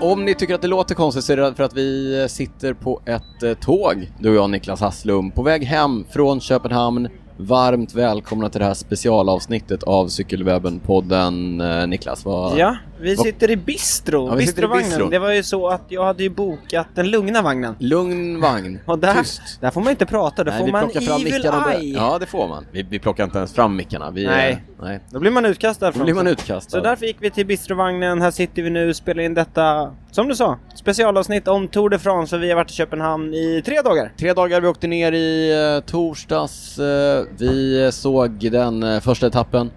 Om ni tycker att det låter konstigt så är det för att vi sitter på ett eh, tåg, du och jag Niklas Hasslum, på väg hem från Köpenhamn. Varmt välkomna till det här specialavsnittet av Cykelwebben-podden. Eh, Niklas, vad... Ja, vi sitter i bistro, Ja, vi sitter i bistrovagnen. bistron. Det var ju så att jag hade ju bokat den lugna vagnen. Lugn vagn. Och där, Tyst. där får man inte prata, där Nej, får vi man plockar fram evil mickarna. och börjar- eye. Ja, det får man. Vi, vi plockar inte ens fram mickarna. Vi, eh, Nej. nej. Då blir man utkastad Då från blir man så. utkastad. Så därför gick vi till bistrovagnen, här sitter vi nu och spelar in detta, som du sa, specialavsnitt om Tour de France och vi har varit i Köpenhamn i tre dagar. Tre dagar vi åkte ner i eh, torsdags. Eh, vi eh, såg den eh, första etappen.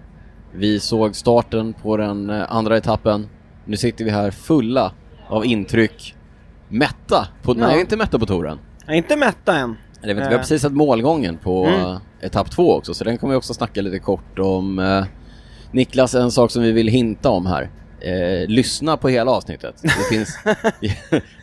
Vi såg starten på den eh, andra etappen. Nu sitter vi här fulla av intryck. Mätta? På, Ja. Nej, inte mätta på touren. Jag är inte mätta än. Eller, vet, Nej. vi har precis sett målgången på Mm. eh, etapp två också, så den kommer vi också snacka lite kort om. Eh, Niklas, en sak som vi vill hinta om här. Eh, lyssna på hela avsnittet. Det finns...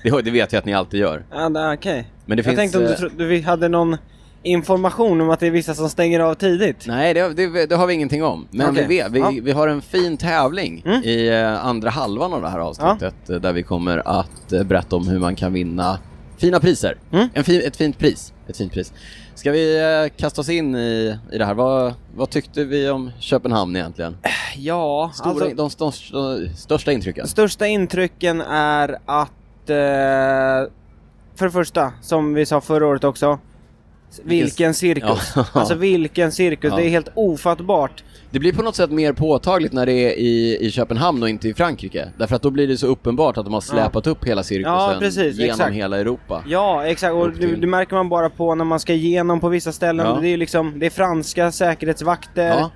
det, det vet jag att ni alltid gör. Ja, det- okej. Men det Jag finns... tänkte om du, eh, tro- du vi hade någon information om att det är vissa som stänger av tidigt. Nej, det, det, det har vi ingenting om. Men Okej. vi, vet, vi, Ja. vi har en fin tävling Mm. i eh, andra halvan av det här avsnittet eh, där vi kommer att eh, berätta om hur man kan vinna fina priser. Mm. En fin, ett, fint pris. ett fint pris. Ska vi eh, kasta oss in i, i det här? Vad, vad tyckte vi om Köpenhamn egentligen? Ja, Stora, de, de, de största intrycken? Största intrycken är att, eh, för det första, som vi sa förra året också, s- Vilken- vilken cirkus. Ja. Alltså vilken cirkus, Ja. det är helt ofattbart. Det blir på något sätt mer påtagligt när det är i, i Köpenhamn och inte i Frankrike. Därför att då blir det så uppenbart att de har släpat upp hela cirkusen Ja, precis, genom exakt. hela Europa. Ja, exakt. Och Upp till. det, det märker man bara på när man ska igenom på vissa ställen. Ja. Det är ju liksom, det är franska säkerhetsvakter. Ja,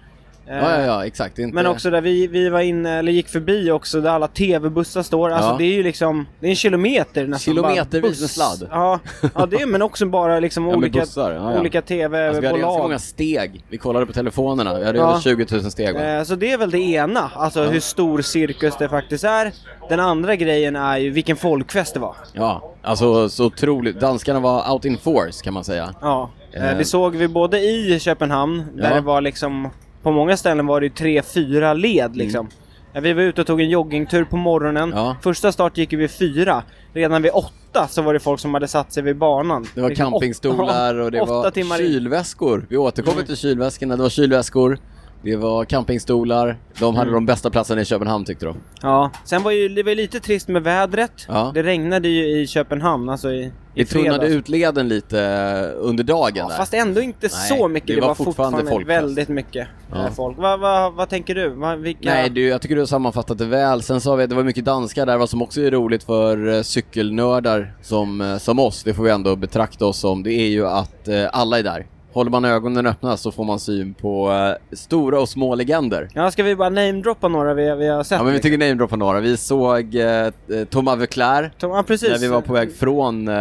Eh, ja, ja, ja exakt. Det är Inte... Men också där vi, vi var inne, eller gick förbi också, där alla TV-bussar står. Alltså Ja. det är ju liksom, det är en kilometer nästan. bara Kilometervis buss. med sladd. Ja, ja det är, men också bara liksom med olika, bussar. Ja, ja. olika Alltså, vi hade ganska TV-bolag. många steg. Vi kollade på telefonerna. Vi hade Ja. över 20 000 steg. va? Eh, Så det är väl det ena, alltså hur stor cirkus det faktiskt är. Den andra grejen är ju vilken folkfest det var. Ja, alltså så otroligt. Danskarna var out in force kan man säga. Ja. eh, Eh. Det såg vi både i Köpenhamn, där Ja. det var liksom, på många ställen var det ju tre, fyra led liksom. Eh, Vi var ute och tog en joggingtur på morgonen. Mm. Ja. Första start gick vi vid fyra. Redan vid åtta så var det folk som hade satt sig vid banan. Det var Liksom campingstolar åtta- och det åtta var timmar Mm. in. kylväskor. Vi återkommer till kylväskorna. Det var kylväskor, det var campingstolar. De Mm. hade de bästa platserna i Köpenhamn tyckte de. Ja. Sen var ju, det var ju lite trist med vädret. Ja. Det regnade ju i Köpenhamn, alltså i, i Vi tunnade fredags. ut leden lite eh, under dagen Ja, där. fast ändå inte Nej, så mycket. det Det, var var, fortfarande fortfarande, folkfest. väldigt mycket Ja. eh, folk. Vad vad- vad tänker du? Va, vilka... Nej, du, jag tycker du har sammanfattat det väl. Sen sa vi att det var mycket danskar där, vad som också är roligt för eh, cykelnördar som, eh, som oss, det får vi ändå betrakta oss som, det är ju att eh, alla är där. Håller man ögonen öppna så får man syn på eh, stora och små legender. Ja, ska vi bara namedroppa några vi, vi har sett? Ja men vi liksom? tycker namedroppa några. Vi såg eh, eh, Thomas Verclair Tom- ja, precis. när vi var på väg från eh,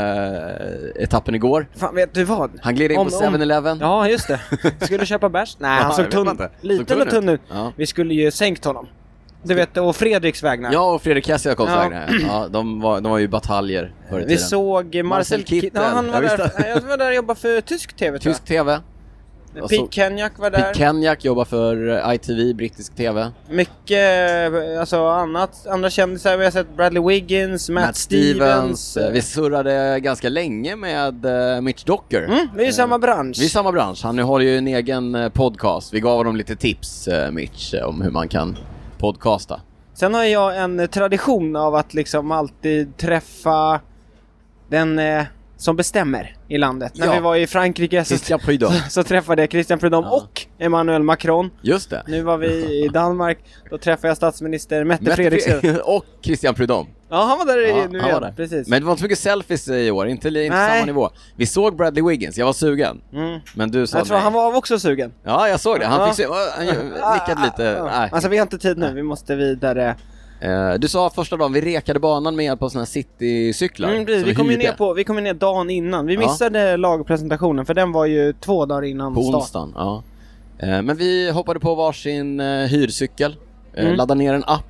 etappen igår. Fan, vet du vad? Han gled in Om- på om- 7-Eleven. Ja, just det. Skulle köpa bärs? Nej, Ja, han jag såg vet tunn, inte. Såg liten tunn och tunn ut. ut. Ja. Vi skulle ju sänkt honom. Du vet, och Fredriks vägnar. Ja, och Fredrik Kessiakoffs Ja. ja. ja, de var, de var ju bataljer förr i vi tiden. såg eh, Marcel Marcel Kittel. Kittel. Ja, han Ja, var visst. där. Nej, Jag var där och jobbade för tysk TV tror Tysk TV. jag. och så- Pete Kenyak var där. Pete Kenyak jobbar för eh, ITV, brittisk TV. Mycket eh, alltså, annat, andra kändisar. Vi har sett Bradley Wiggins, Matt, Stevens. eh, Vi surrade ganska länge med eh, Mitch Docker. Mm, vi är i samma bransch. Eh, Vi är i samma bransch. Han har ju en egen eh, podcast. Vi gav honom lite tips, eh, Mitch, eh, om hur man kan podcasta. Sen har jag en eh, tradition av att liksom alltid träffa den eh, som bestämmer i landet. Ja. När vi var i Frankrike så, Christian Prydom. så träffade jag Christian Prudhomme Ja. och Emmanuel Macron. Just det. Nu var vi i Danmark, då träffade jag statsminister Mette, Mette Frederiksen. Fre- och Christian Prydom. Ja, han var där i, nu han igen. var där. Precis. Men det var inte så mycket selfies eh, i år, inte, inte Nej. samma nivå. Vi såg Bradley Wiggins, jag var sugen. Mm. Men du sa Jag tror nej. han var också sugen. Ja, jag såg det. Han Ja. fick se... oh, Han nickade lite. Ah, ah, ah. Nej. Alltså vi har inte tid nu, vi måste vidare. Eh, du sa första dagen, vi rekade banan med hjälp av såna här citycyklar. Mm, precis. som vi kom ju hyrde ner, på, vi kom ju ner dagen innan. Vi Ja. missade lagpresentationen för den var ju två dagar innan På start. onsdagen, ja. Eh, men vi hoppade på varsin eh, hyrcykel, eh, Mm. laddade ner en app,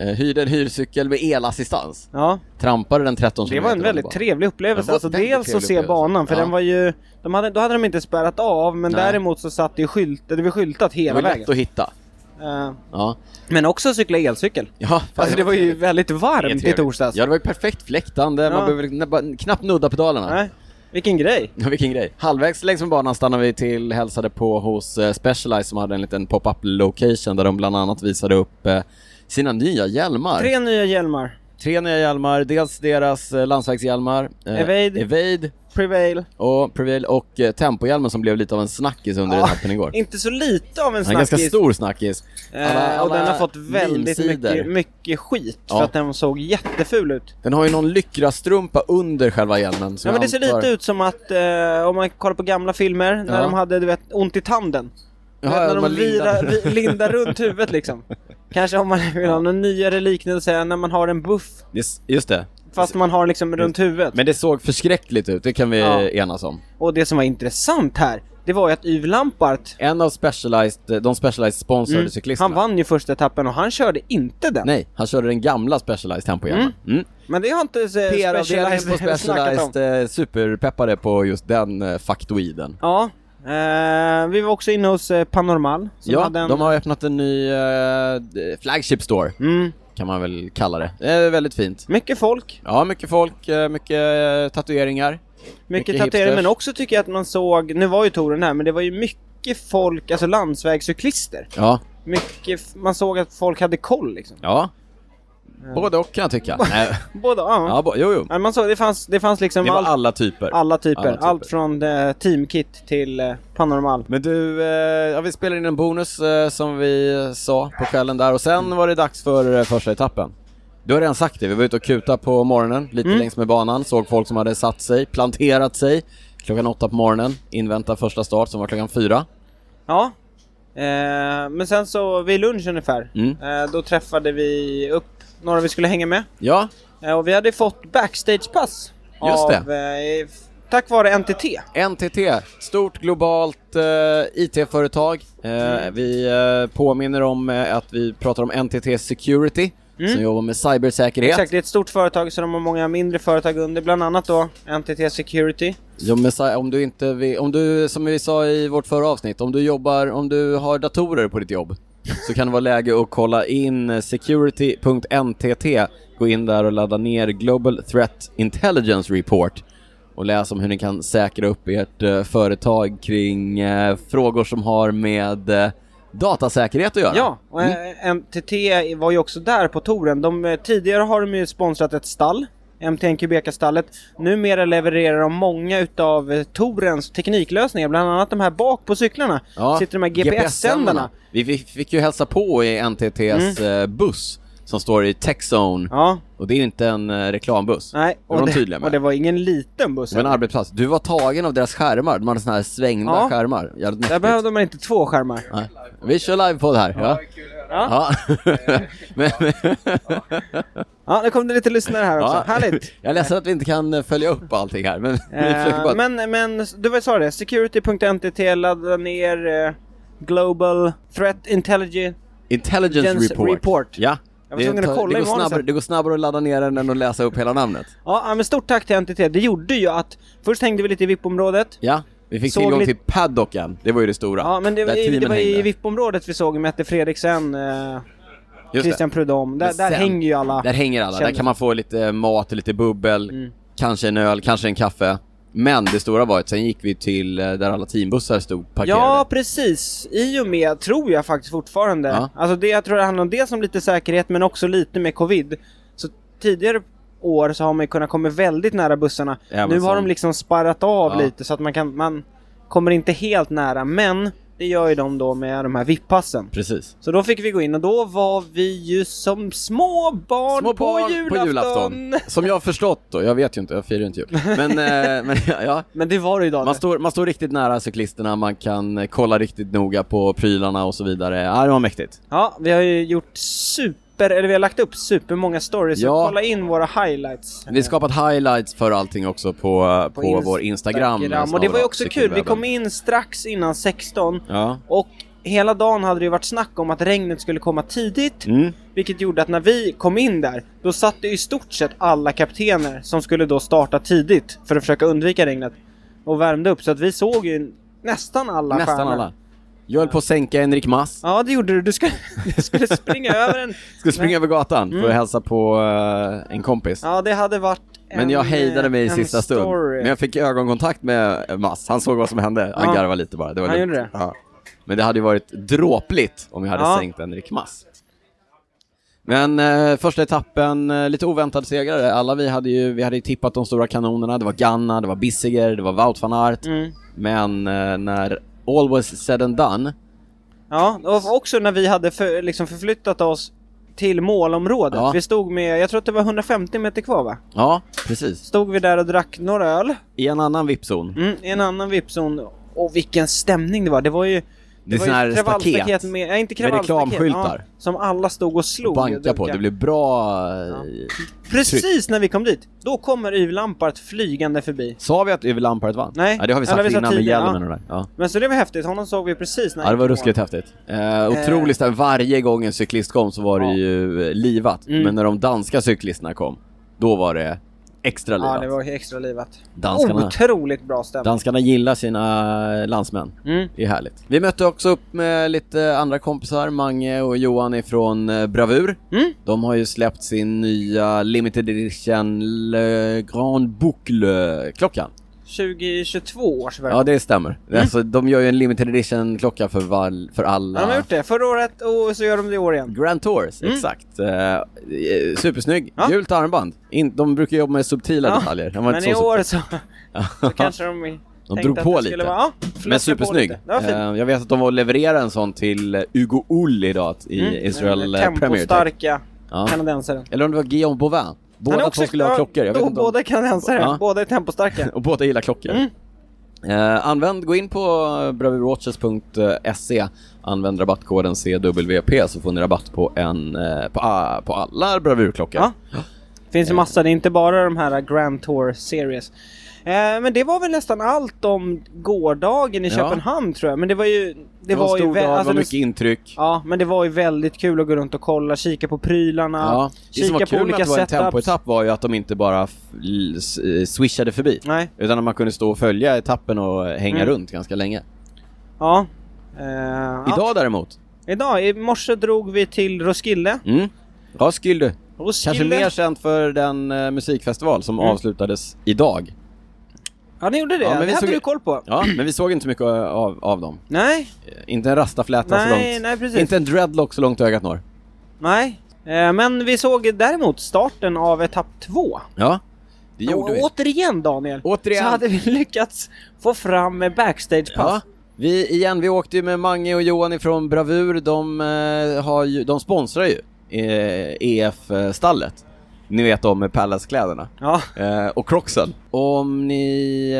eh, hyrde en hyrcykel med elassistans. Ja. Trampade den 13 Det var en kilometer väldigt bara. trevlig upplevelse. Det var Alltså väldigt dels att trevlig se upplevelse. banan, för Ja. den var ju... De hade, då hade de inte spärrat av, men Nej. däremot så satt det, skylt, det var skyltat Det hela var lätt vägen. att hitta. Eh, Ja, Men också cykla elcykel. ja fan, Alltså det var ju väldigt varmt i trevligt. torsdags. Ja, det var ju perfekt fläktande. Ja. Man behöver kn- bara knappt nudda pedalerna. Nej, vilken grej. Ja, vilken grej. Halvvägs längs med banan stannade vi till, hälsade på hos eh, Specialized som hade en liten pop-up location där de bland annat visade upp eh, sina nya hjälmar. Tre nya hjälmar. Tre nya hjälmar, dels deras eh, landsvägshjälmar, eh, Evade. Evade Prevail. och Prevail och eh, Tempohjälmen som blev lite av en snackis under Ja, den här igår. Inte så lite av en En ganska Ah, snackis. stor snackis. Eh, Alla- och den alla har fått väldigt meme-sidor. mycket, mycket skit för Ja. att den såg jätteful ut. Den har ju någon lyckrastrumpa under själva hjälmen. som Ja, men jag det ser antar- lite ut som att, eh, om man kollar på gamla filmer, när Ja. de hade du vet, ont i tanden. Ja, Du vet, ja, när de man lindar. virar, vi, lindar runt huvudet liksom. Kanske om man vill ha någon nyare liknelse än när man har en buff, Just- Just det. fast man har liksom runt huvudet. Men det såg förskräckligt ut, det kan vi Ja. enas om. Och det som var intressant här, det var ju att Yves Lampart, En av Specialized, de Specialized-sponsrade cyklisterna. Mm. han vann ju första etappen och han körde inte den. Nej, han körde den gamla Specialized tempohjälmen. Mm. Men det har inte eh, PR-avdelningen på Specialized snackat om. Specialized eh, superpeppade på just den eh, faktoiden. Ja, eh, vi var också inne hos eh, Panormal. Som ja, hade en... de har öppnat en ny eh, flagship store, mm, kan man väl kalla det. Det är väldigt fint. mycket folk, Ja, mycket folk, eh, mycket eh, tatueringar. mycket, Mycket tatueringar, hipsters. men också tycker jag att man såg, nu var ju touren här, men det var ju mycket folk, alltså landsvägscyklister. Ja, Mycket, f- man såg att folk hade koll liksom. ja. Både och kan jag tycka. Nej. Båda, ja. Ja, bo- jo, jo. Ja, Man såg, det fanns, det fanns liksom Det var allt, alla typer. alla, typer. alla typer. Allt från eh, teamkit till eh, Panormal. Men du, eh, ja, vi spelar in en bonus eh, som vi sa på kvällen där och sen var det dags för eh, första etappen. Du har redan sagt det, vi var ute och kuta på morgonen, lite längs med banan, såg folk som hade satt sig, planterat sig klockan åtta på morgonen, invänta första start som var klockan fyra. Ja. Eh, men sen så vid lunch ungefär, Mm. eh, då träffade vi upp några vi skulle hänga med. Ja, Eh, Och vi hade fått backstagepass Just av, eh, f- tack vare NTT. NTT, stort globalt eh, IT-företag. Eh, Vi eh, påminner om eh, att vi pratar om NTT Security, som jobbar med cybersäkerhet. Exakt, det är ett stort företag så de har många mindre företag under, bland annat då NTT Security. Ja, men så här, om du inte vill, om du, som vi sa i vårt förra avsnitt, om du jobbar, om du har datorer på ditt jobb så kan det vara läge att kolla in security.ntt, gå in där och ladda ner Global Threat Intelligence Report och läs om hur ni kan säkra upp ert eh, företag kring eh, frågor som har med eh, datasäkerhet att göra. Ja, och eh, mm. NTT var ju också där på touren. De, eh, tidigare har de ju sponsrat ett stall, MTN Kubeka-stallet. Numera levererar de många utav eh, tourens tekniklösningar, bland annat de här bak på cyklarna. Ja, Sitter de här GPS-sändarna. Vi fick, fick ju hälsa på i NTTs eh, buss som står i Tech Zone Mm. Ja, Och det är inte en eh, reklambuss. nej. Det var Och de tydliga det, med. och det var ingen liten buss. det var en heller. arbetsplats. Du var tagen av deras skärmar, de hade såna här svängda Ja. skärmar. Jävligt Där mäktigt. behövde man inte två skärmar. Nej. Vi kör live på det här. Ja. Ja. men, men, Ja, nu kom det lite lyssnare här också. ja. Härligt! Jag är ledsen att vi inte kan eh, följa upp allting här, men vi försöker bara... Eh, men, men du vad sa det, security.ntt ladda ner eh, Global Threat Intelligence. Intelligence Intelligence report. report. Ja. Jag var tvungen att tar- kolla det, går imorgon snabbare, sen. det går snabbare att ladda ner den än att läsa upp hela namnet. Ja, ja, men stort tack till NTT. Det gjorde ju att först hängde vi lite i VIP-området. Ja, vi fick Såg tillgång lite- till paddocken. Det var ju det stora. Ja, men det, där det, det teamen var i hängde. VIP-området vi såg Mette Fredriksen, eh, Just det. Christian Prudhomme. Där, Men där sen- hänger ju alla. Där hänger alla. Där Känner- kan man få lite mat, lite bubbel, Mm. kanske en öl, kanske en kaffe. Men det stora var att sen gick vi till eh, där alla teambussar stod parkerade. Ja, precis. I och med, tror jag faktiskt fortfarande. Ja. Alltså det, jag tror det handlar om det som lite säkerhet, men också lite med covid. Så tidigare år så har man ju kunnat komma väldigt nära bussarna. Ja, men nu har som- de liksom sparrat av Ja. lite så att man kan, man kommer inte helt nära, men det gör ju de då med de här VIP-passen. Precis. Så då fick vi gå in och då var vi ju som små barn, Små barn på, julafton. Som jag har förstått då, jag vet ju inte, jag firar ju inte jul. Men, eh, men ja, ja. Men det var det ju Man, Daniel. står, man står riktigt nära cyklisterna, man kan eh, kolla riktigt noga på prylarna och så vidare. Ja, det var mäktigt. Ja, vi har ju gjort super, eller vi har lagt upp supermånga stories, så Ja. kolla in våra highlights. Vi har skapat highlights för allting också på, på, vår Instagram. eh, Och det var ju också kul, vi cykelwebben. kom in strax innan 16 Ja. och hela dagen hade det ju varit snack om att regnet skulle komma tidigt, Mm. vilket gjorde att när vi kom in där, då satt det i stort sett alla kaptener som skulle då starta tidigt för att försöka undvika regnet och värmde upp, så att vi såg ju nästan alla Nästan stjärnor. alla. Jag höll på att sänka Henrik Mass. Ja, det gjorde du. Du skulle, du skulle springa över en. Skulle springa Nej. över gatan för att hälsa på eh, en kompis. Mm. Ja, det hade varit en, Men jag hejdade mig i en sista stund. story. Men jag fick ögonkontakt med Mass. Han såg vad som hände. Han Ja. garvade lite bara. Det var Han lugnt. gjorde det. Ja. Men det hade ju varit dråpligt om jag hade Ja. sänkt Henrik Mass. Men eh, första etappen, eh, lite oväntad segrare. Alla vi hade ju, vi hade ju tippat de stora kanonerna. Det var Ganna, det var Bissiger, det var Wout van Aert. Mm. Men eh, när all was said and done, Ja, och också när vi hade för, liksom förflyttat oss till målområdet. Ja. Vi stod med, jag tror att det var 150 meter kvar va? ja precis. Stod vi där och drack några öl I en annan vippzon. mm, i en annan vippzon. Och vilken stämning det var! Det var ju... Det är sån här staket. med, nej, inte med kravallstaket, reklamskyltar. Ja, som alla stod och slog. och Banka på, dunkade. det blev bra... Ja. eh, Precis när vi kom dit, då kommer yvlampart flygande förbi. Sa vi att Yves Lamparet vann? Nej. det har vi sagt Eller vi sa innan med tidigare, hjälmen och det där. Ja. Men så det var häftigt, honom såg vi precis när Ja, det han var kom. ruskigt häftigt. Eh, otroligt, där varje gång en cyklist kom så var det Ja. ju eh, livat. Mm. Men när de danska cyklisterna kom, då var det extra livat. Ja, det var extra livat. Danskarna. Otroligt bra stämning. Danskarna gillar sina eh, landsmän. Mm. Det är härligt. Vi mötte också upp med lite andra kompisar, Mange och Johan ifrån eh, Bravur. Mm. De har ju släppt sin nya limited edition Le Grand Boucle-klockan. 2022 års version. Ja, det stämmer. Mm. Alltså, de gör ju en limited edition-klocka för, val- för alla. Ja, de har gjort det förra året och så gör de det i år igen. Grand Tours, Mm. exakt. Eh, eh, supersnygg. Ja. Gult armband. In, de brukar jobba med subtila Ja. detaljer. Den var Men inte i så år så, så subtil. kanske de, De tänkte drog att på det lite. skulle Vara, ja, flöt Men på supersnygg. lite. Det var fint. Eh, jag vet att de var och levererade en sån till eh, Hugo Ull idag i Mm. Israel eh, Premier League. Tempostarka Ja. kanadensare. Eller om det var Guillaume Bovin. Han är Båda två också- skulle ha ja, klockor. Jag vet då- inte om... Båda är kanadensare, Ja. båda är tempostarka. Och båda gillar klockor. Mm. Eh, använd, gå in på bravurwatches.se Använd rabattkoden CWP så får ni rabatt på, en, eh, på, ah, på alla bravurklockor. Ja. Finns Eh. ju massa, det är inte bara de här eh, Grand Tour Series. Eh, men det var väl nästan allt om gårdagen i Ja. Köpenhamn tror jag. Men det var ju... Det, Det var, var en ju stor vä- dag, det alltså var den- mycket intryck. Ja, men det var ju väldigt kul att gå runt och kolla, kika på prylarna, Ja. Det som kika var på kul med olika att det var en setups. tempoetapp var ju att de inte bara f- l- s- eh, swishade förbi. Nej, Utan att man kunde stå och följa etappen och hänga Mm. runt ganska länge. ja. Eh, ja. Idag däremot, Idag, i morse drog vi till Roskilde. mm, Roskilde. Roskilde. Kanske mer känt för den eh, musikfestival som Mm. avslutades idag. Ja, ni gjorde det. Ja, men det vi hade såg- du koll på. Ja, men vi såg inte så mycket av, av dem. Nej, Eh, Inte en rastafläta så nej, långt. nej precis. Inte en dreadlock så långt ögat når. Nej. Eh, men vi såg däremot starten av etapp två. Ja, det gjorde och, vi. Återigen Daniel, Återigen. så hade vi lyckats få fram eh, Ja, backstagepass. vi igen, vi åkte ju med Mange och Johan ifrån Bravur, de, eh, har ju, de sponsrar ju eh, EF-stallet. Ni vet om Palace-kläderna. Ja. Eh, och Croxen. Om ni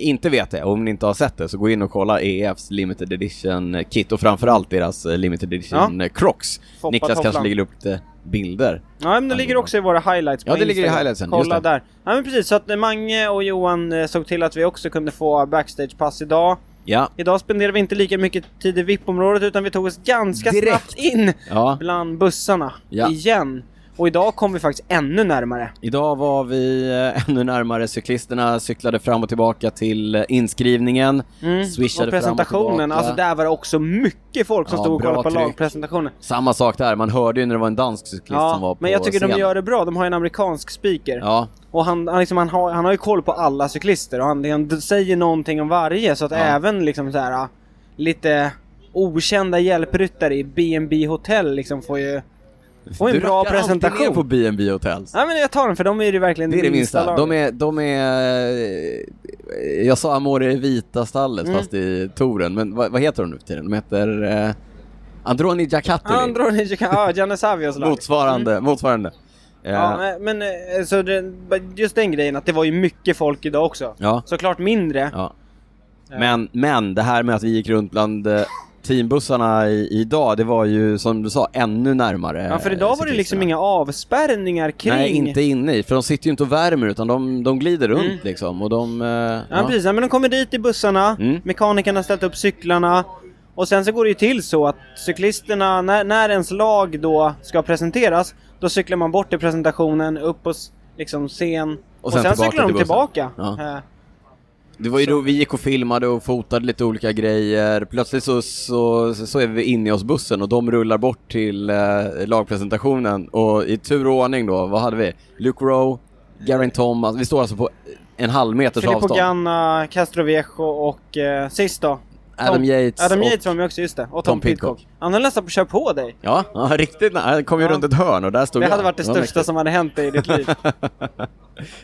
eh, inte vet det, om ni inte har sett det, så gå in och kolla EFs Limited Edition eh, Kit och framförallt deras eh, Limited Edition eh, Crocs. Foppa Niklas kanske tofflan. lägger upp lite bilder. Ja, men det ligger också i våra highlights på Ja, det ligger i Instagram. highlightsen, just Kolla det. där. Ja, men precis. Så att eh, Mange och Johan eh, såg till att vi också kunde få backstagepass idag. Ja, Idag spenderade vi inte lika mycket tid i VIP-området utan vi tog oss ganska Direkt. snabbt in ja. bland bussarna Ja. igen. Och idag kom vi faktiskt ännu närmare. Idag var vi eh, ännu närmare cyklisterna, cyklade fram och tillbaka till eh, inskrivningen, Mm. swishade Mm. och fram och presentationen, tillbaka. alltså där var det också mycket folk som Ja, stod och bra kollade på tryck. lagpresentationen. Samma sak där, man hörde ju när det var en dansk cyklist som var Ja, på men jag tycker scenen. de gör det bra. De har ju en amerikansk speaker. Ja, Och han, han, liksom, han, har, han har ju koll på alla cyklister och han, han d- säger någonting om varje. Så att även liksom så här, ah, lite okända hjälpryttare i B&B hotell liksom får ju får en du bra rackar alltid ner presentation. på B&B Hotels. Ja, men jag tar den för de är ju verkligen Det är det minsta. laget. De är, de är... eh, Jag sa Amore i vita stallet Mm. fast i touren, men vad, vad heter de nu för tiden? De heter eh, Androni Giacattoli. Andra och Nijika, ja, Janne Savios lag. Motsvarande, motsvarande. Eh, Ja, men- men eh, så det, just den grejen att det var ju mycket folk idag också. ja. Såklart mindre. ja. Men, men det här med att vi gick runt bland eh, teambussarna i, idag, det var ju som du sa ännu närmare. Ja, för idag var det liksom inga avspärrningar kring... Eh, Mm. Nej, inte inne i, för de sitter ju inte och värmer utan de, de glider runt liksom och de... eh, Ja, precis. Ja, men de kommer dit i bussarna, Mm. mekanikerna har ställt upp cyklarna. Och sen så går det ju till så att cyklisterna, när, när ens lag då ska presenteras, då cyklar man bort i presentationen, upp på s- liksom scen. Och, sen sen, tillbaka cyklar de till bussen. tillbaka. Ja. Eh, Det var ju då vi gick och filmade och fotade lite olika grejer. Plötsligt så, så, så är vi inne i oss bussen och de rullar bort till eh, lagpresentationen. Och i tur och ordning då, vad hade vi? Luke Rowe, Garin Thomas. Vi står alltså på en halv meters Filippo avstånd. Ganna, Castroviejo och eh, sist då? Adam Yates Adam och- Yates var med också, just det. Och Tom, Tom Pidcock. Pidcock. Han höll nästan på att köra på dig. Ja, ja riktigt nära. Han kom ju Ja. runt ett hörn och där stod Det jag. hade varit det var största mäktigt. som hade hänt dig i ditt liv.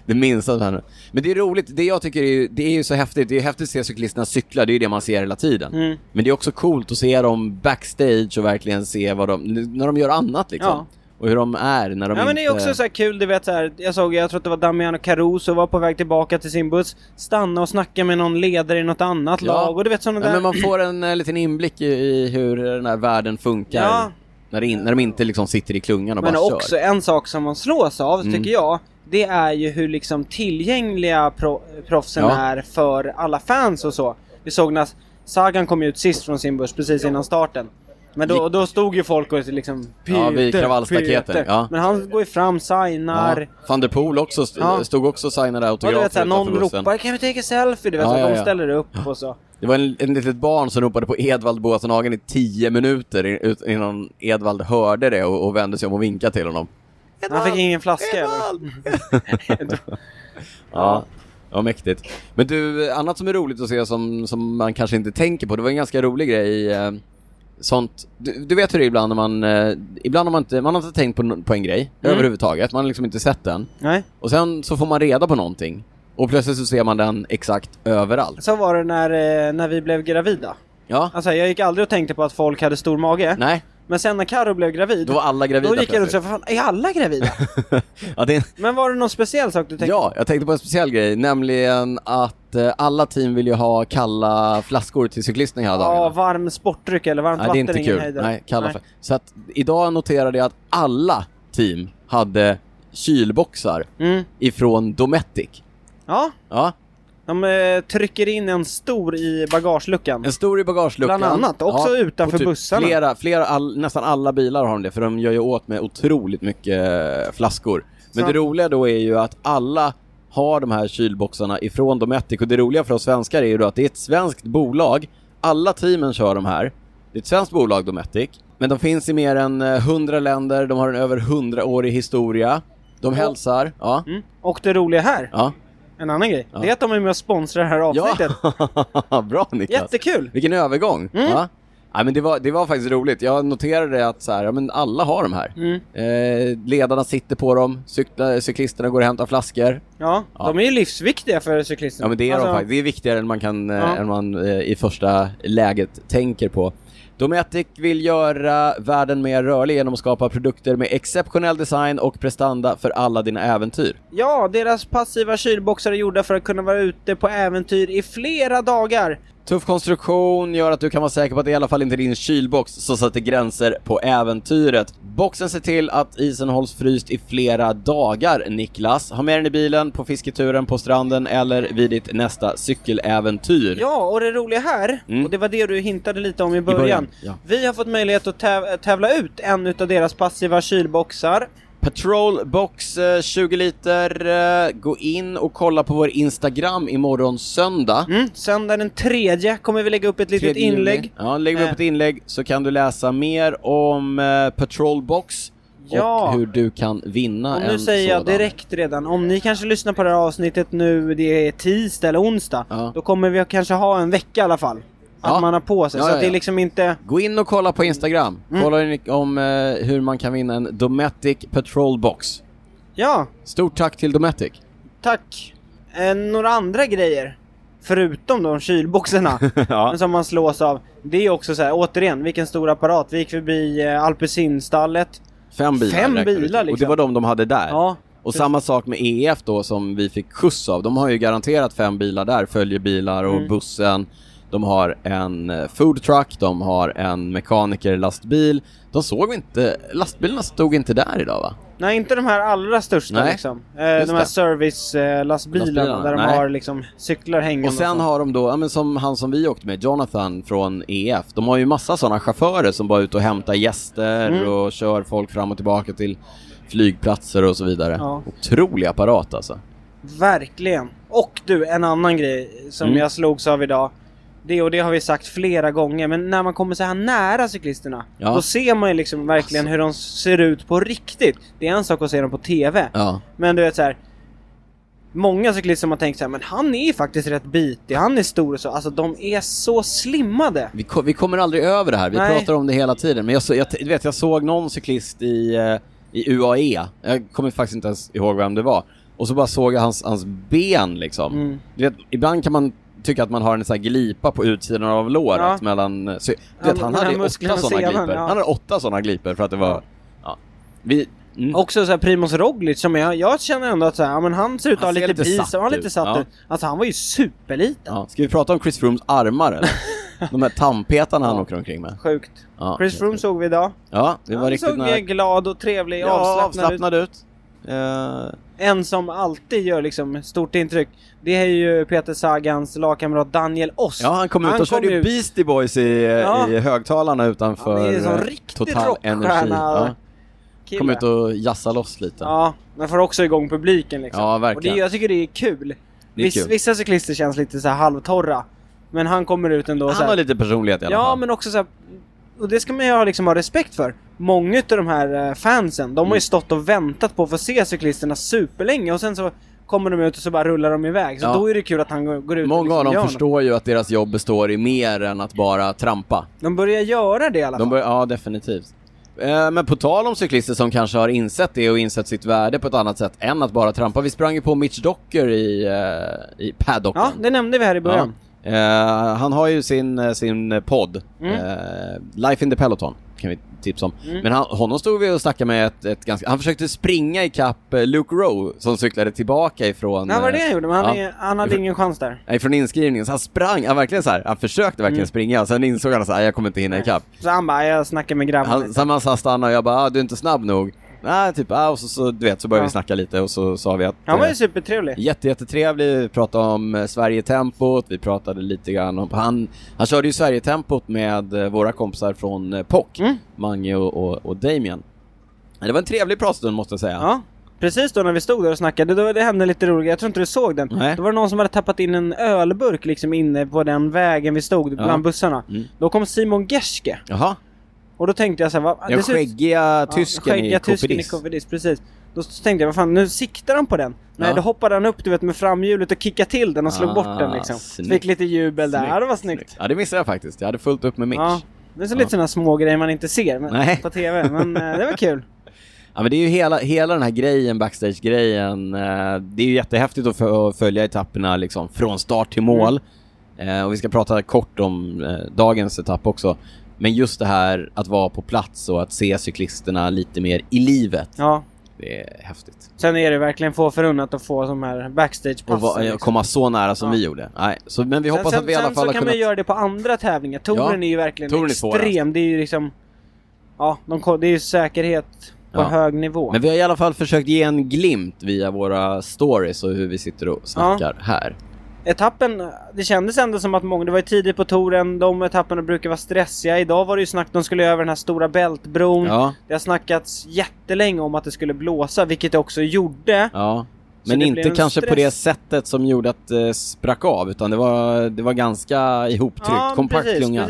Det minsta som händer. Men det är roligt, det jag tycker är, ju- det är ju så häftigt, det är häftigt att se cyklisterna cykla, det är ju det man ser hela tiden. Mm. Men det är också coolt att se dem backstage och verkligen se vad de, när de gör annat liksom. Ja. Och hur de är när de ja inte... men det är också så här kul, du vet så här, jag såg, jag tror att det var Damiano Caruso var på väg tillbaka till sin buss, stanna och snacka med någon ledare i något annat Ja. lag och du vet sådana ja, där... men man får en eh, liten inblick i, i hur den här världen funkar. Ja. När, det in, när de inte liksom sitter i klungan och Men bara också kör. Mm. en sak som man slås av, tycker jag, det är ju hur liksom tillgängliga pro- proffsen Ja. är för alla fans och så. Vi såg när Sagan kom ut sist från sin buss precis innan starten. Men då, då stod ju folk och liksom Ja, vid "Peter, kravallstaketet, Peter." ja. Men han går ju fram, signar. Ja. Van der Poel också st- Ja. stod också och signade Ja, du vet autografer såhär, någon utanför bussen. ropar 'Kan vi take a selfie?' Du vet, Ja, så ja, de ja. ställer upp och så. Det var en, en litet barn som ropade på Edvald Boassenhagen i tio minuter i- ut- innan Edvald hörde det och, och vände sig om och vinkade till honom. Han fick ingen flaska eller? Edvald! Ja, ja, mäktigt. Men du, annat som är roligt att se som, som man kanske inte tänker på, det var en ganska rolig grej. eh, Sånt. Du, du vet hur det är ibland när man, eh, ibland har man inte, man har inte tänkt på, n- på en grej Mm. överhuvudtaget, man har liksom inte sett den. Nej. Och sen så får man reda på någonting och plötsligt så ser man den exakt överallt. Så var det när, eh, när vi blev gravida. Ja, Alltså jag gick aldrig och tänkte på att folk hade stor mage. nej, Men sen när Karo blev gravid, då var alla gravida då gick jag runt och sa, plötsligt. "Vad fan, är alla gravida? ja, det är en, Men var det någon speciell sak du tänkte? Ja, jag tänkte på en speciell grej, nämligen att eh, alla team vill ju ha kalla flaskor till cyklisterna hela dagarna. Ja, varm sportdryck eller varmt Nej, det är vatten, inte ingen kul. hejdare. Nej, kalla flaskor. Så att idag noterade jag att alla team hade kylboxar Mm. ifrån Dometic. Ja, Ja, de eh, trycker in en stor i bagageluckan. en stor i bagageluckan. Bland annat, också Ja, utanför och typ bussarna. Flera, flera all, nästan alla bilar har de det, för de gör ju åt med otroligt mycket eh, flaskor. Men Så- det roliga då är ju att alla har de här kylboxarna ifrån Dometic och det roliga för oss svenskar är ju då att det är ett svenskt bolag. Alla teamen kör de här. Det är ett svenskt bolag, Dometic. Men de finns i mer än eh, 100 länder, de har en över 100-årig historia. De hälsar. Ja. Mm. Och det roliga här, Ja. en annan grej, det är att de är med och sponsrar det här avsnittet. ja. Bra Niklas. Jättekul! Vilken övergång! Mm. Ja. Ja, men det, var, det var faktiskt roligt. Jag noterade att så här, ja, men alla har de här. Mm. Eh, ledarna sitter på dem, cykla, cyklisterna går och hämtar flaskor. Ja, Ja. de är ju livsviktiga för cyklisterna. Ja, men det är Alltså, de faktiskt. Det är viktigare än man, kan, eh, Ja. än man eh, i första läget tänker på. Dometic vill göra världen mer rörlig genom att skapa produkter med exceptionell design och prestanda för alla dina äventyr. Ja, deras passiva kylboxar är gjorda för att kunna vara ute på äventyr i flera dagar. Tuff konstruktion gör att du kan vara säker på att det i alla fall inte är din kylbox som sätter gränser på äventyret. Boxen ser till att isen hålls fryst i flera dagar, Niklas. Ha med den i bilen, på fisketuren, på stranden eller vid ditt nästa cykeläventyr. Ja, och det roliga här, Mm. och det var det du hintade lite om i början. början, ja. Vi har fått möjlighet att täv- tävla ut en utav deras passiva kylboxar. Patrol box eh, 20 liter. eh, Gå in och kolla på vår Instagram imorgon söndag. Mm. Söndag den tredje kommer vi lägga upp ett litet 3 juni. inlägg. Ja, lägger vi upp Eh. ett inlägg så kan du läsa mer om eh, Patrol box Ja. och hur du kan vinna Och en nu säger jag sådan. direkt redan, om ni kanske lyssnar på det här avsnittet nu, det är tisdag eller onsdag, Ja. då kommer vi kanske ha en vecka i alla fall. Att Ja. man har på sig, Ja, så ja, att det är ja. liksom inte... Gå in och kolla Mm. på Instagram. Kolla in om eh, hur man kan vinna en Dometic Patrol Box. Ja, Stort tack till Dometic. tack. Eh, några andra grejer, förutom de kylboxarna, ja. men som man slås av. Det är också så här, återigen, vilken stor apparat. Vi gick förbi eh, Alpecinstallet. Fem bilar. Fem räknar vi bilar, till. Och det liksom. var de de hade där. Ja, Och samma sak med EF då som vi fick skjuts av. De har ju garanterat fem bilar där, följebilar Mm. och bussen. De har en eh, food truck, de har en mekanikerlastbil. De såg vi inte, lastbilarna stod inte där idag va? Nej, inte de här allra största Nej, liksom. Eh, just de här det. servicelastbilarna Lastbilarna, där de nej. har liksom cyklar hängande. Och sen så. har de då, ja, men som han som vi åkte med, Jonathan från EF, de har ju massa sådana chaufförer som bara är ute och hämtar gäster Mm. och kör folk fram och tillbaka till flygplatser och så vidare. Ja. Otrolig apparat alltså. Verkligen. Och du, en annan grej som Mm. jag slogs av idag. Det och det har vi sagt flera gånger, men när man kommer så här nära cyklisterna, Ja. Alltså. då ser man ju liksom verkligen hur de ser ut på riktigt. Det är en sak att se dem på TV, Ja. men du vet så här. Många cyklister som har tänkt så här, men han är faktiskt rätt bitig, han är stor och så. Alltså de är så slimmade. Vi, ko- vi kommer aldrig över det här, vi Nej. pratar om det hela tiden. Men jag, så, jag, t- du vet, jag såg någon cyklist i, eh, i UAE, jag kommer faktiskt inte ens ihåg vem det var. Och så bara såg jag hans, hans ben liksom. Mm. Du vet, ibland kan man tycka att man har en sån här glipa på utsidan av låret Ja. mellan... eh, sy- Ja, Du vet, han mellan hade ju musklerna åtta och såna senan, glipor. ja. Han hade åtta såna glipor för att det var... Ja. Vi, mm. Också så här Primoz Roglic som jag, jag känner ändå att så här, ja, men han ser ut att ha Han ser lite, lite pis satt och han är ut, lite satt ja. ut. Alltså han var ju superliten. ja. Ska vi prata om Chris Froomes armar eller? De här tandpetarna han Ja. åker omkring med. Sjukt. Ja, Chris Froome såg vi idag. Ja, det var han riktigt såg mer nära. glad och trevlig, Ja, avslappnad, avslappnad ut. Eh, ut. En som alltid gör liksom stort intryck, det är ju Peter Sagans lagkamrat Daniel Oss. Ja, han kom ut och körde kom ju ut. Beastie Boys i, Ja. i högtalarna Han utanför är en sån eh, riktig Total rockstjärna, Energi. Ja. Kille. Kom ut och jassa loss lite. Ja, men får också igång publiken liksom. Ja, verkligen. och det, jag tycker det är kul. Det är Viss, kul. Vissa cyklister känns lite så här halvtorra, men han kommer ut ändå så Han här, har lite personlighet i alla Ja, fall. men också så här, och det ska man ju ha, liksom, ha respekt för. Många av de här eh, fansen, de Mm. har ju stått och väntat på att få se cyklisterna superlänge och sen så kommer de ut och så bara rullar de iväg. Så Ja. då är det kul att han går, går ut och Många liksom av gör dem något. förstår ju att deras jobb består i mer än att bara trampa. De börjar göra det i alla fall. De bör, ja, definitivt. Eh, Men på tal om cyklister som kanske har insett det och insett sitt värde på ett annat sätt än att bara trampa. Vi sprang ju på Mitch Docker i, eh, i paddocken. Ja, det nämnde vi här i början. Eh, han har ju sin, eh, sin podd, Mm. eh, Life in the Peloton, kan vi tipsa om. Mm. Men han, honom stod vi och snackade med ett, ett ganska... Han försökte springa ikapp eh, Luke Rowe som cyklade tillbaka ifrån... Ja, vad var det eh, han gjorde? Men han, ja. är, han hade Vi får- ingen chans där. Nej, från inskrivningen. Så han sprang, han, verkligen så här, han försökte verkligen Mm. springa, sen insåg han att jag kommer inte hinna Nej. ikapp. Så han bara, jag snackar med grabbarna. Han, sen han stannade och jag bara, ah, du är inte snabb nog. Nej, typ, ah, och så, så, du vet, så började Ja. vi snacka lite och så sa vi att... han var eh, ju supertrevlig. Jätte, jättetrevlig, vi pratade om eh, Sverigetempot, vi pratade lite grann om... Han, han körde ju Sverigetempot med eh, våra kompisar från eh, POC, Mm. Mange och, och, och Damien. Men Det var en trevlig pratstund måste jag säga. Ja. Precis då när vi stod där och snackade, då det hände lite roligt. Jag tror inte du såg den. Nej. Då var det någon som hade tappat in en ölburk liksom inne på den vägen vi stod, Ja. bland bussarna. Mm. Då kom Simon Gerske. Jaha, Och då tänkte jag så här, vad, den det ser ut- skäggiga ja, tysken skäggiga i tysken i Kopedis. Covidis, precis. Då tänkte jag, vad fan, nu siktar han på den. Nej, Ja. då hoppade han upp du vet, med framhjulet och kickade till den och slog Ah, bort den liksom. snyggt. Fick lite jubel där, Snyggt, ja, det var snyggt. Ja, det missade jag faktiskt. Jag hade fullt upp med Mitch. Ja. Ja. Det är så lite sådana små grejer man inte ser men, Nej. på TV, men eh, det var kul. men det är ju hela, hela den här grejen, backstage-grejen. eh, Det är ju jättehäftigt att fö- att följa etapperna liksom, från start till Mm. mål. Eh, och vi ska prata kort om eh, dagens etapp också. Men just det här att vara på plats och att se cyklisterna lite mer i livet, Ja. det är häftigt. Sen är det verkligen få förunnat att få de här Och backstagepassen. va, eh, liksom. komma så nära som Ja. vi gjorde. Nej, så, men vi hoppas sen, att vi i alla sen fall så har kan kunnat... man göra det på andra tävlingar. Touren Ja, är ju verkligen touren är alltså. svårast. extrem. Det är ju liksom... Ja, de, ko- det är ju säkerhet på Ja. hög nivå. Men vi har i alla fall försökt ge en glimt via våra stories och hur vi sitter och snackar här. Etappen, det kändes ändå som att många, det var ju tidigt på touren, de etapperna brukar vara stressiga. Idag var det ju snack de skulle över den här stora bältbron. Ja, Det har snackats jättelänge om att det skulle blåsa, vilket det också gjorde. ja. Så Men det inte blev en kanske på stress. det sättet som gjorde att det sprack av, utan det var, det var ganska ihoptryckt, kompakt klunga.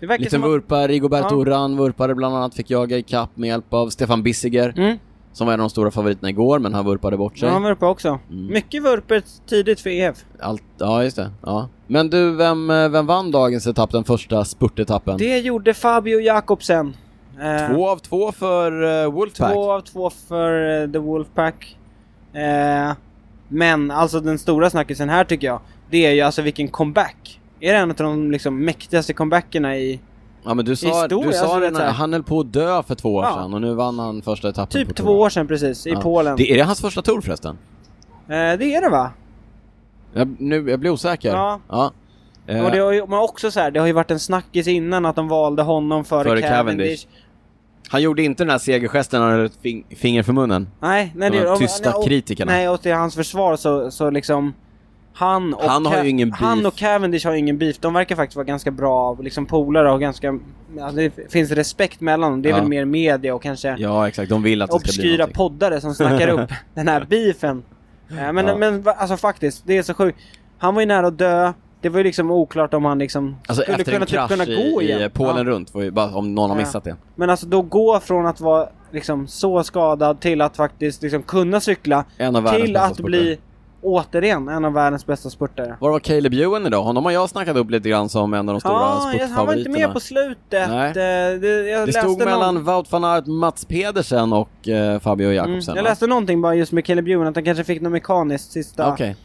Det verkar Liten som att... vurpa, Rigoberto Ja. Urán vurpade bland annat, fick jaga i kapp med hjälp av Stefan Bissiger, Mm, som var en av de stora favoriterna igår, men han vurpade bort sig. ja, han Ja, vurpade också. Mm. Mycket vurper tidigt för E EF. Allt, ja just det. Ja. Men du, vem, eh, vem vann dagens etapp, den första spurtetappen? Det gjorde Fabio Jakobsen. Eh, Två av två för eh, Wolfpack. Två av två för eh, The Wolfpack. Eh, men alltså den stora snackisen här tycker jag, det är ju alltså vilken comeback. Är det en av de liksom, mäktigaste comebackerna i Ja men du sa, Historia, du sa alltså, det så när här. han höll på att dö för två år Ja. sedan och nu vann han första etappen på typ två touren. år sedan precis, i Ja. Polen. Det... Det, är det hans första tour förresten? Eh, det är det va? Jag, nu, jag blir osäker. Ja. ja. Eh, Och det har ju, men också så här, det har ju varit en snackis innan att de valde honom före, Före Cavendish. Cavendish. Han gjorde inte den här segergesten när han höll ett fing- finger för munnen. Nej, nej De det här om- tysta nej, och- kritikerna. Nej, och till hans försvar så, så liksom han och, Han har ju ingen beef. han och Cavendish har ju ingen beef. De verkar faktiskt vara ganska bra liksom polare och ganska... Alltså det finns respekt mellan dem. Det är Ja. väl mer media och kanske Ja exakt, de vill att det ska bli obskyra någonting. poddare som snackar upp den här beefen. Eh, Men, Ja. men va- alltså faktiskt, det är så sjukt. Han var ju nära att dö. Det var ju liksom oklart om han liksom Alltså skulle efter en kunna, typ, krasch kunna gå i, igen. i Polen Ja. runt, var ju bara, om någon har Ja. missat det. Men alltså då gå från att vara liksom så skadad till att faktiskt liksom kunna cykla En av världens till bästa att bli återigen en av världens bästa spurtare. Var var Caleb Ewan idag? Honom har jag snackat upp lite grann som en av de stora Ja, Ah, jag- spurtfavoriterna. han var inte med på slutet. Nej. Eh, Det, jag Det läste stod någon- mellan Wout van Aert, Mats Pedersen och eh, Fabio Mm, Jakobsen. jag va? läste någonting bara just med Caleb Ewan, att han kanske fick något mekaniskt sista Okej.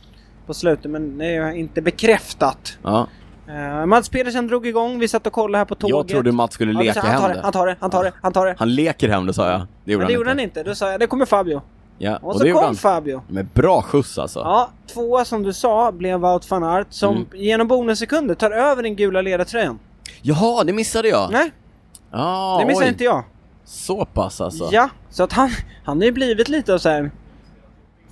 på slutet, men det är inte bekräftat. Ja. Eh, Mats Pedersen drog igång, vi satt och kollade här på tåget. Jag trodde Mats skulle Ja, vi leka sa, han tar hem det, det. han tar det, han tar det, han tar det. Han leker hem det sa jag. Det gjorde, Men det gjorde han inte. inte, då sa jag det kommer Fabio. Ja. Och, Och, det så gjorde kom han. Fabio. Med bra skjuts alltså. Ja, tvåa som du sa blev Wout van Aert som Mm. genom bonussekunder tar över den gula ledartröjan. Jaha, det missade jag! Nej, Ja, det missade oj. inte jag. Så pass alltså. Ja, så att han, han har ju blivit lite av så här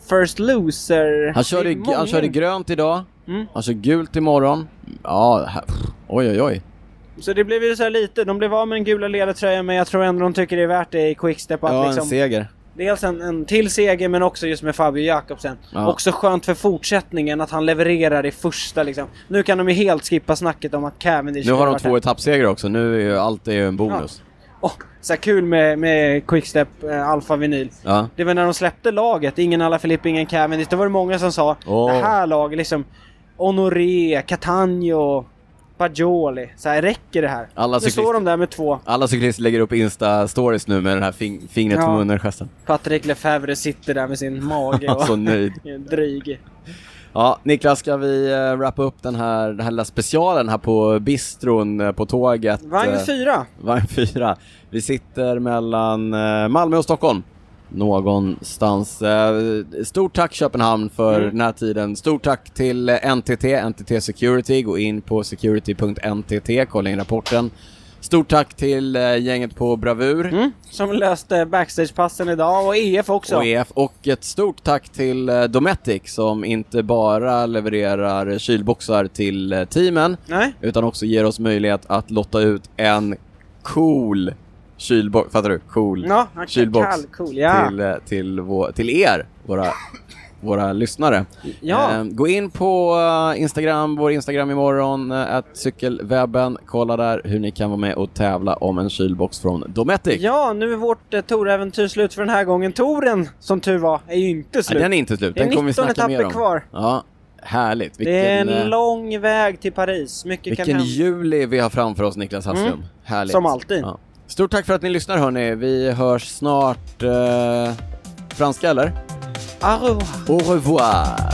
first loser. Han körde, Det är i- många- han körde grönt idag, Mm. han kör gult imorgon. Ja, här, pff, oj oj oj. Så det blev ju så här lite, de blev av med den gula ledartröjan men jag tror ändå de tycker det är värt det i quickstep att Ja, en liksom... seger. Dels en, en till seger men också just med Fabio Jakobsen. Ja. Också skönt för fortsättningen att han levererar i första liksom. Nu kan de ju helt skippa snacket om att Cavendish Nu har skulle de varit två här. etappsegrar också, nu är ju allt är ju en bonus. Åh, så här kul med, med Quickstep eh, Alfa Vinyl. Ja. Det var när de släppte laget, ingen Alaphilippe, ingen Cavendish. Det var det många som sa Åh. det här laget liksom Honoré, Catania, Pagioli. Så här, räcker det här? Alla nu cyklist- står de där med två. Alla cyklister lägger upp Insta-stories nu med den här fing- fingret Ja. på munnen-gesten. Patrik Lefebvre sitter där med sin mage Han är och så nöjd. är dryg. Ja, Niklas, ska vi eh, wrappa upp den här, den här lilla specialen här på bistron eh, på tåget? Vagn Eh, fyra. Vagn 4. Vi sitter mellan eh, Malmö och Stockholm. Någonstans. Eh, Stort tack Köpenhamn för Mm. den här tiden. Stort tack till eh, NTT, NTT Security. Gå in på security.ntt, kolla in rapporten. Stort tack till eh, gänget på Bravur Mm, som löste backstagepassen idag och EF också. och E EF. Och ett stort tack till eh, Dometic som inte bara levererar kylboxar till eh, teamen Nej? utan också ger oss möjlighet att lotta ut en cool kylbox, fattar du? Cool Ja, han- kylbox kall, cool, ja. till, eh, till, vår, till er, våra, våra lyssnare. Ja. Eh, gå in på eh, Instagram, vår Instagram imorgon, eh, att cykelwebben. Kolla där hur ni kan vara med och tävla om en kylbox från Dometic. Ja, nu är vårt eh, Tor-äventyr slut för den här gången. Toren, som tur var, är ju inte Nej, slut. den är inte slut, Det är den kommer vi 19 snacka mer etapper om. kvar. Ja, härligt. Vilken, det är en eh, lång väg till Paris. Mycket kan vilken hända. Mm. juli vi har framför oss Niklas Hasslum. Härligt. Som alltid. Ja. Stort tack för att ni lyssnar hörni. Vi hörs snart. Eh, franska eller? Au revoir. Au revoir!